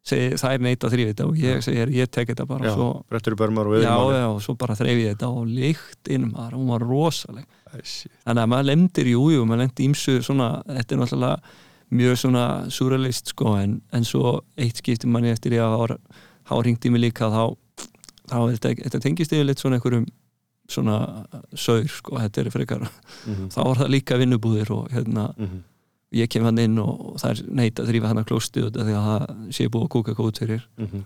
segi, það er neitt að þrýfi þetta og ég segi, "Herri, ég tek þetta bara Já, og svo, brettur í börmar og já, viðmáli. já, og svo bara þreyfi ég þetta og líkt inn um maður, hún var rosaleg Æsj. þannig að maður lendir, jú, jú, maður lendir ímsu svona, þetta er náttúrulega mjög svona surrealist sko, en, en svo eitt skipti manni eftir ég að þá ringdi mig líka þá, þá er þetta, þetta tengist yfirleitt svona einhverjum svona saur, sko, þetta er frekar Mhm. þá var það líka vinnubúðir og hérna Mhm. ég kem hann inn og það er neitt að þrýfa hann að klósti út af því að það sé búið að kúka góð fyrir Mhm.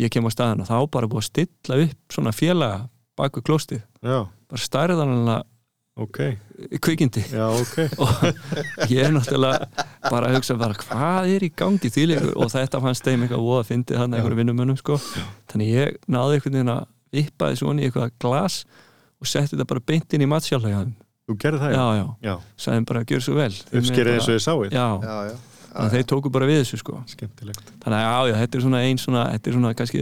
ég kem á staðan og þá bara búið að stilla upp svona félaga baku klóstið Já, bara stærðanlega ok. kvikindi Já, ok. og ég er náttúrulega bara að hugsa bara hvað er í gangi þýleikur og þetta fannst þeim eitthvað voða að fyndi hann einhverjum vinnumönnum sko þannig ég náði einhvern veginn að vippa þessu onni í eitthvað glas og setti þetta bara beint inn í matsjálega Þú gerði það, já já, Já. sagði bara að gjöra svo vel Þið Uppskerið megið eins og þið sáið. bara- já, já, já. þannig að þeir tóku bara við þessu sko Skemmtilegt. þannig að já já, þetta er svona einn svona þetta er svona kannski,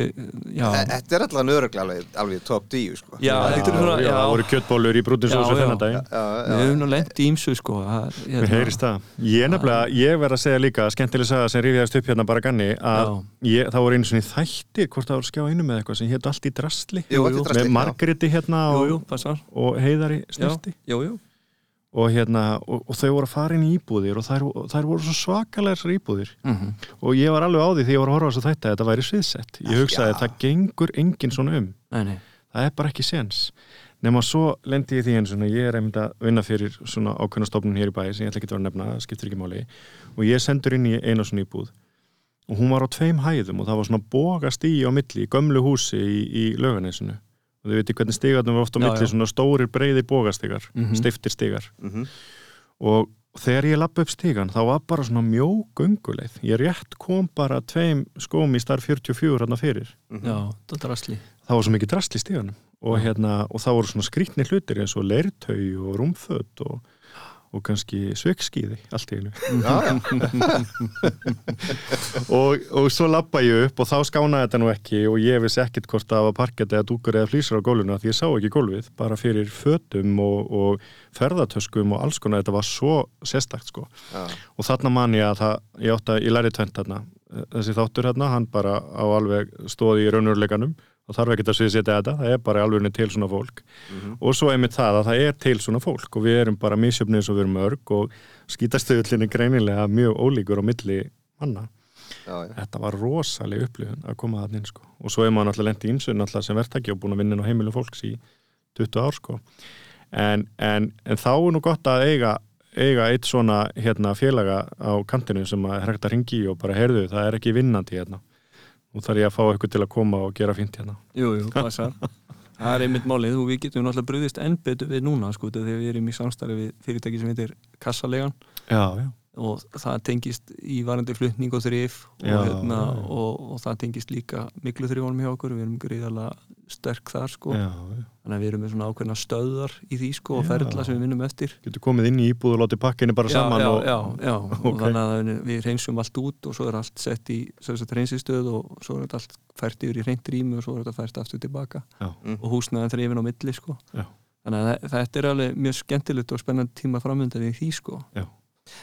já Þe- Þetta er allavega nörglega alveg, alveg top 10 sko. já, þetta er svona, já, það voru já, kjöttbólur í brútinsósu Já, já. þennan dag. já, já, við höfum nú lent í ímsu sko að, Mér heyrist það. Ég nefnilega, ég verð að segja líka, skemmtileg saga sem rífiðast upp hérna bara ganni, að Já. ég, það voru einu svona þættir, hvort það voru skjá einu með eitthvað sem hétt allt í drastli. Jú, allt í drasli, Með já. Margréti hérna jú, og, jú, passar og Heiðari já, Snirti. jú, jú Og, hérna, og, og þau voru að fara inn í íbúðir og þær, og þær voru svo svakalega þessar íbúðir. Mhm. Og ég var alveg á því því ég var að horfa á þessu þetta, þetta væri sviðsett. Ég hugsaði, Ah, Já. það gengur enginn svona um. Nei, nei. það er bara ekki sens nema svo lendi ég í því eins og ég er einmitt að vinna fyrir svona ákveðnastofnun hér í bæi sem ég ætla ekki að vera að nefna, það skiptir ekki máli og ég sendur inn í eina svona íbúð og hún var á tveim hæðum og það var svona boga stíi á milli í gömlu húsi í, í löganesinu og þau veitir hvernig stígarnum var ofta á Já, milli já. svona stórir breiðir bogastígar mm Mhm. stiftir stígar Mhm. og þegar ég lappa upp stígan þá var bara svona mjó gönguleið ég rétt kom bara tveim skóm í starf 44 hann fyrir já, þetta er asli það var svo mikið drast í stíðanum og, hérna, og það voru svona skrítni hlutir eins og leirtau og rúmföt og, og kannski sveikskíði allt í einu já, já. og, og svo lappa ég upp og þá skánaði þetta nú ekki og ég vissi ekkit hvort það var parkett eða dúkur eða flýsar á gólfinu af því ég sá ekki gólfið bara fyrir fötum og, og ferðartöskum og alls konar þetta var svo sérstakt sko Já. og þarna man ég að það ég, átti að, ég læri tvent þarna þessi þáttur hérna, hann bara á alveg stóði í raunurleikanum og þarf ekkert að sviðsetja þetta, það er bara alveg til svona fólk mhm. og svo einmitt það að það er til svona fólk og við erum bara misjöfnið eins og við erum örg og skítastöðullinni greinilega mjög ólíkur á milli manna Já, já. þetta var rosaleg upplifun að koma þarna inn sko. og svo er maður náttúrulega lent í ymsu náttúrulega sem verktæki og búin að vinna inn á heimilu fólks í 20 ár sko. en, en, en þá er nú gott að eiga eiga eitt svona hérna, félaga á kantinu sem að er hægt að ringi og bara heyrðu, það er ekki vinnandi hérna nú þarf ég að fá eitthvað til að koma og gera fint hérna Jú, jú, passar Það er einmitt málið og við getum náttúrulega brugðist enn betur við núna sko út af því að við erum í samstarfi við fyrirtæki sem heitir Kassalegan já, já, og það tengist í varandi flutning og þrif og, Já, hérna, já, já. og, og það tengist líka miklu þrifunum hjá okkur, við erum greiðalega sterk þar sko, já, já. þannig að við erum með svona ákveðna stöðar í því sko og Já. ferla sem við vinnum eftir getur komið inn í íbúð og látið pakkinu bara saman já, og, já, já, Ok. og þannig að við reynsum allt út og svo er allt sett í reynsistöð og svo er þetta allt fært yfir í reynd rými og svo er þetta fært aftur tilbaka Já. Mm. og húsnaðan þrifin á milli sko. Já. þannig að þe- þetta er alveg mjög skemmtilegt og spennandi tíma framöndan í því sko.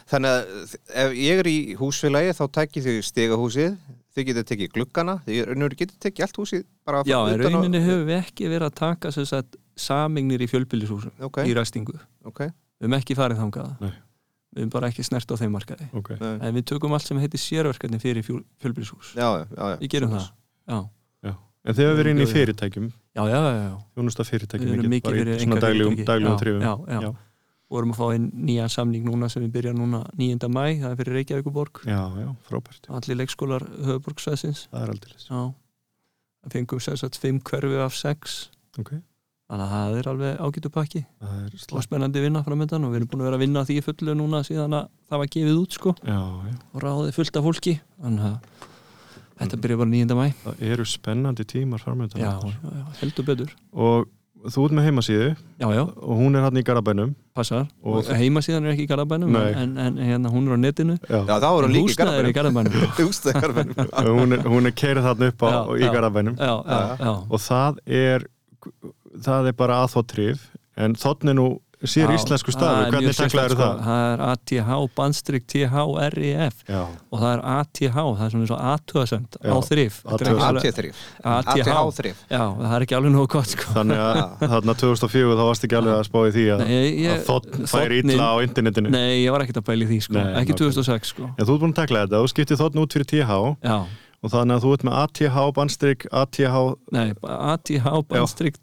Þannig að ef ég er í húsfélagi þá tækir þau stegahúsið þau getur tekið gluggana, þau raunur getur tekið allt húsið bara Já, í utan á- rauninni höfum við ekki verið að taka sem sagt, samingnir í fjölbýlishúsum Ok, í ræstingu, við ok höfum ekki farið þangað Nei. við höfum bara ekki snert á þeim markaði ok, Nei. en við tökum allt sem heitir sérverkefni fyrir fjól, fjölbýlishús Já, já, já, já. við gerum það já, já en þið hefur verið inn í fyrirtækjum, já, já, já, já. þjónusta fyrirtækjum Við erum mikið bara í fyrir svona daglegum, einkafyrirtæki. daglegum Já, þrifum já, já. já, vorum að fá inn nýjan samning núna sem við byrja núna 9. mæ, það er fyrir Reykjavíkuborg já, já, frábært allir leikskólar höfuborgsvæðsins það er aldrei já, það fengum sérsagt 5 hverfi af 6 Ok. þannig að það er alveg ágætu pakki það er og slapp spennandi vinna framöndan og við erum búin að vera að vinna að því fullu núna síðan að það var gefið út sko já, já. og ráðið fullt af fólki þannig að Mm. þetta byrja bara 9. mæ það eru spennandi tímar framöndan já, já, heldur betur og þú ert með heimasíðu já, já, og hún er hann í Garabænum passar Og- og heima síðan er ekki í Garabænum Nei. en, en hérna hún er á netinu já. Já, þá voru en líka í húsnaðið er í garðbænum Garabænum Húsnaðargarðinum hún er, hún er keirið þarna upp á, Já, í já. Garabænum já, já, já, og það er það er bara að þó trif en þannig nú sér Já, íslensku það stafi, er hvernig mjög sérstakt, taklaður sko. það? Það er ATH, bandstrik THRIF Já, E og það er ATH, það er svona eins og aðtöðasend Já, á þrif Þetta er ekki alveg- AT3 ATH. ATH3 Já, það er ekki alveg nógu gott sko þannig að þarna 2004 þá varst ekki alveg að spá í því að, Nei, ég- að þotn færi þ- illa á internetinu. Nei, ég var ekkert að bæli því sko, Nei, ekki nákvæmlega. 2006 sko En þú ert búin að tekla þetta, þú skiptir þotn út fyrir TH Já, og þannig að þú ert með ATH, bandstrik, ATH, nei, ATH, bandstrik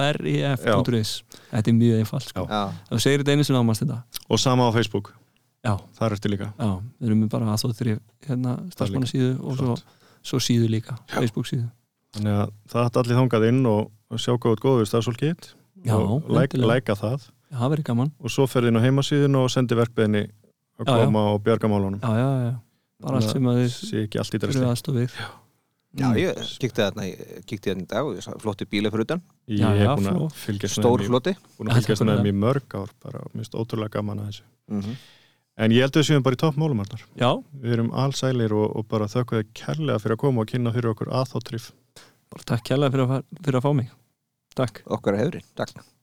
E THRIF.is Þetta er mjög einfalt sko Já, Ef Þú segir þetta einu sinna ámast þetta og sama á Facebook, Já, þar ertu líka. já, við erum með bara aðþóttir hérna starfsmanna síðu og svo, svo síðu líka, Facebook síðu Þannig að það ætti allir þangað inn og sjá hvað út góður stafsólkiðitt Já, og læk- endilega. læka það Já, það verið gaman og svo ferðin á heimasíðin og sendi verkbeðinni að Já, já. koma og bjarga málunum. Já, já, já, já. bara allt sem að þið Sér ekki allt í fyrir dresti. aðstofið já Mm. ég kíkti þarna í- kíkti þarna í dag og ég sá flotti bíla fyrir utan Ég Já, hef já, búin að flott. fylgjast með stór þeim í- flotti búin að fylgjast með Þetta er þeim í mörg ár bara, mér finnst ótrúlega gaman að þessu Mhm. en ég held að við séum bara í toppmálum Arnar. Já, við erum allsælir og, og bara þökkum þið kærlega fyrir að koma og kynna fyrir okkur aðþóttrif bara takk kjærlega fyrir að, fa- fyrir að fá mig Takk okkar að hefri, takk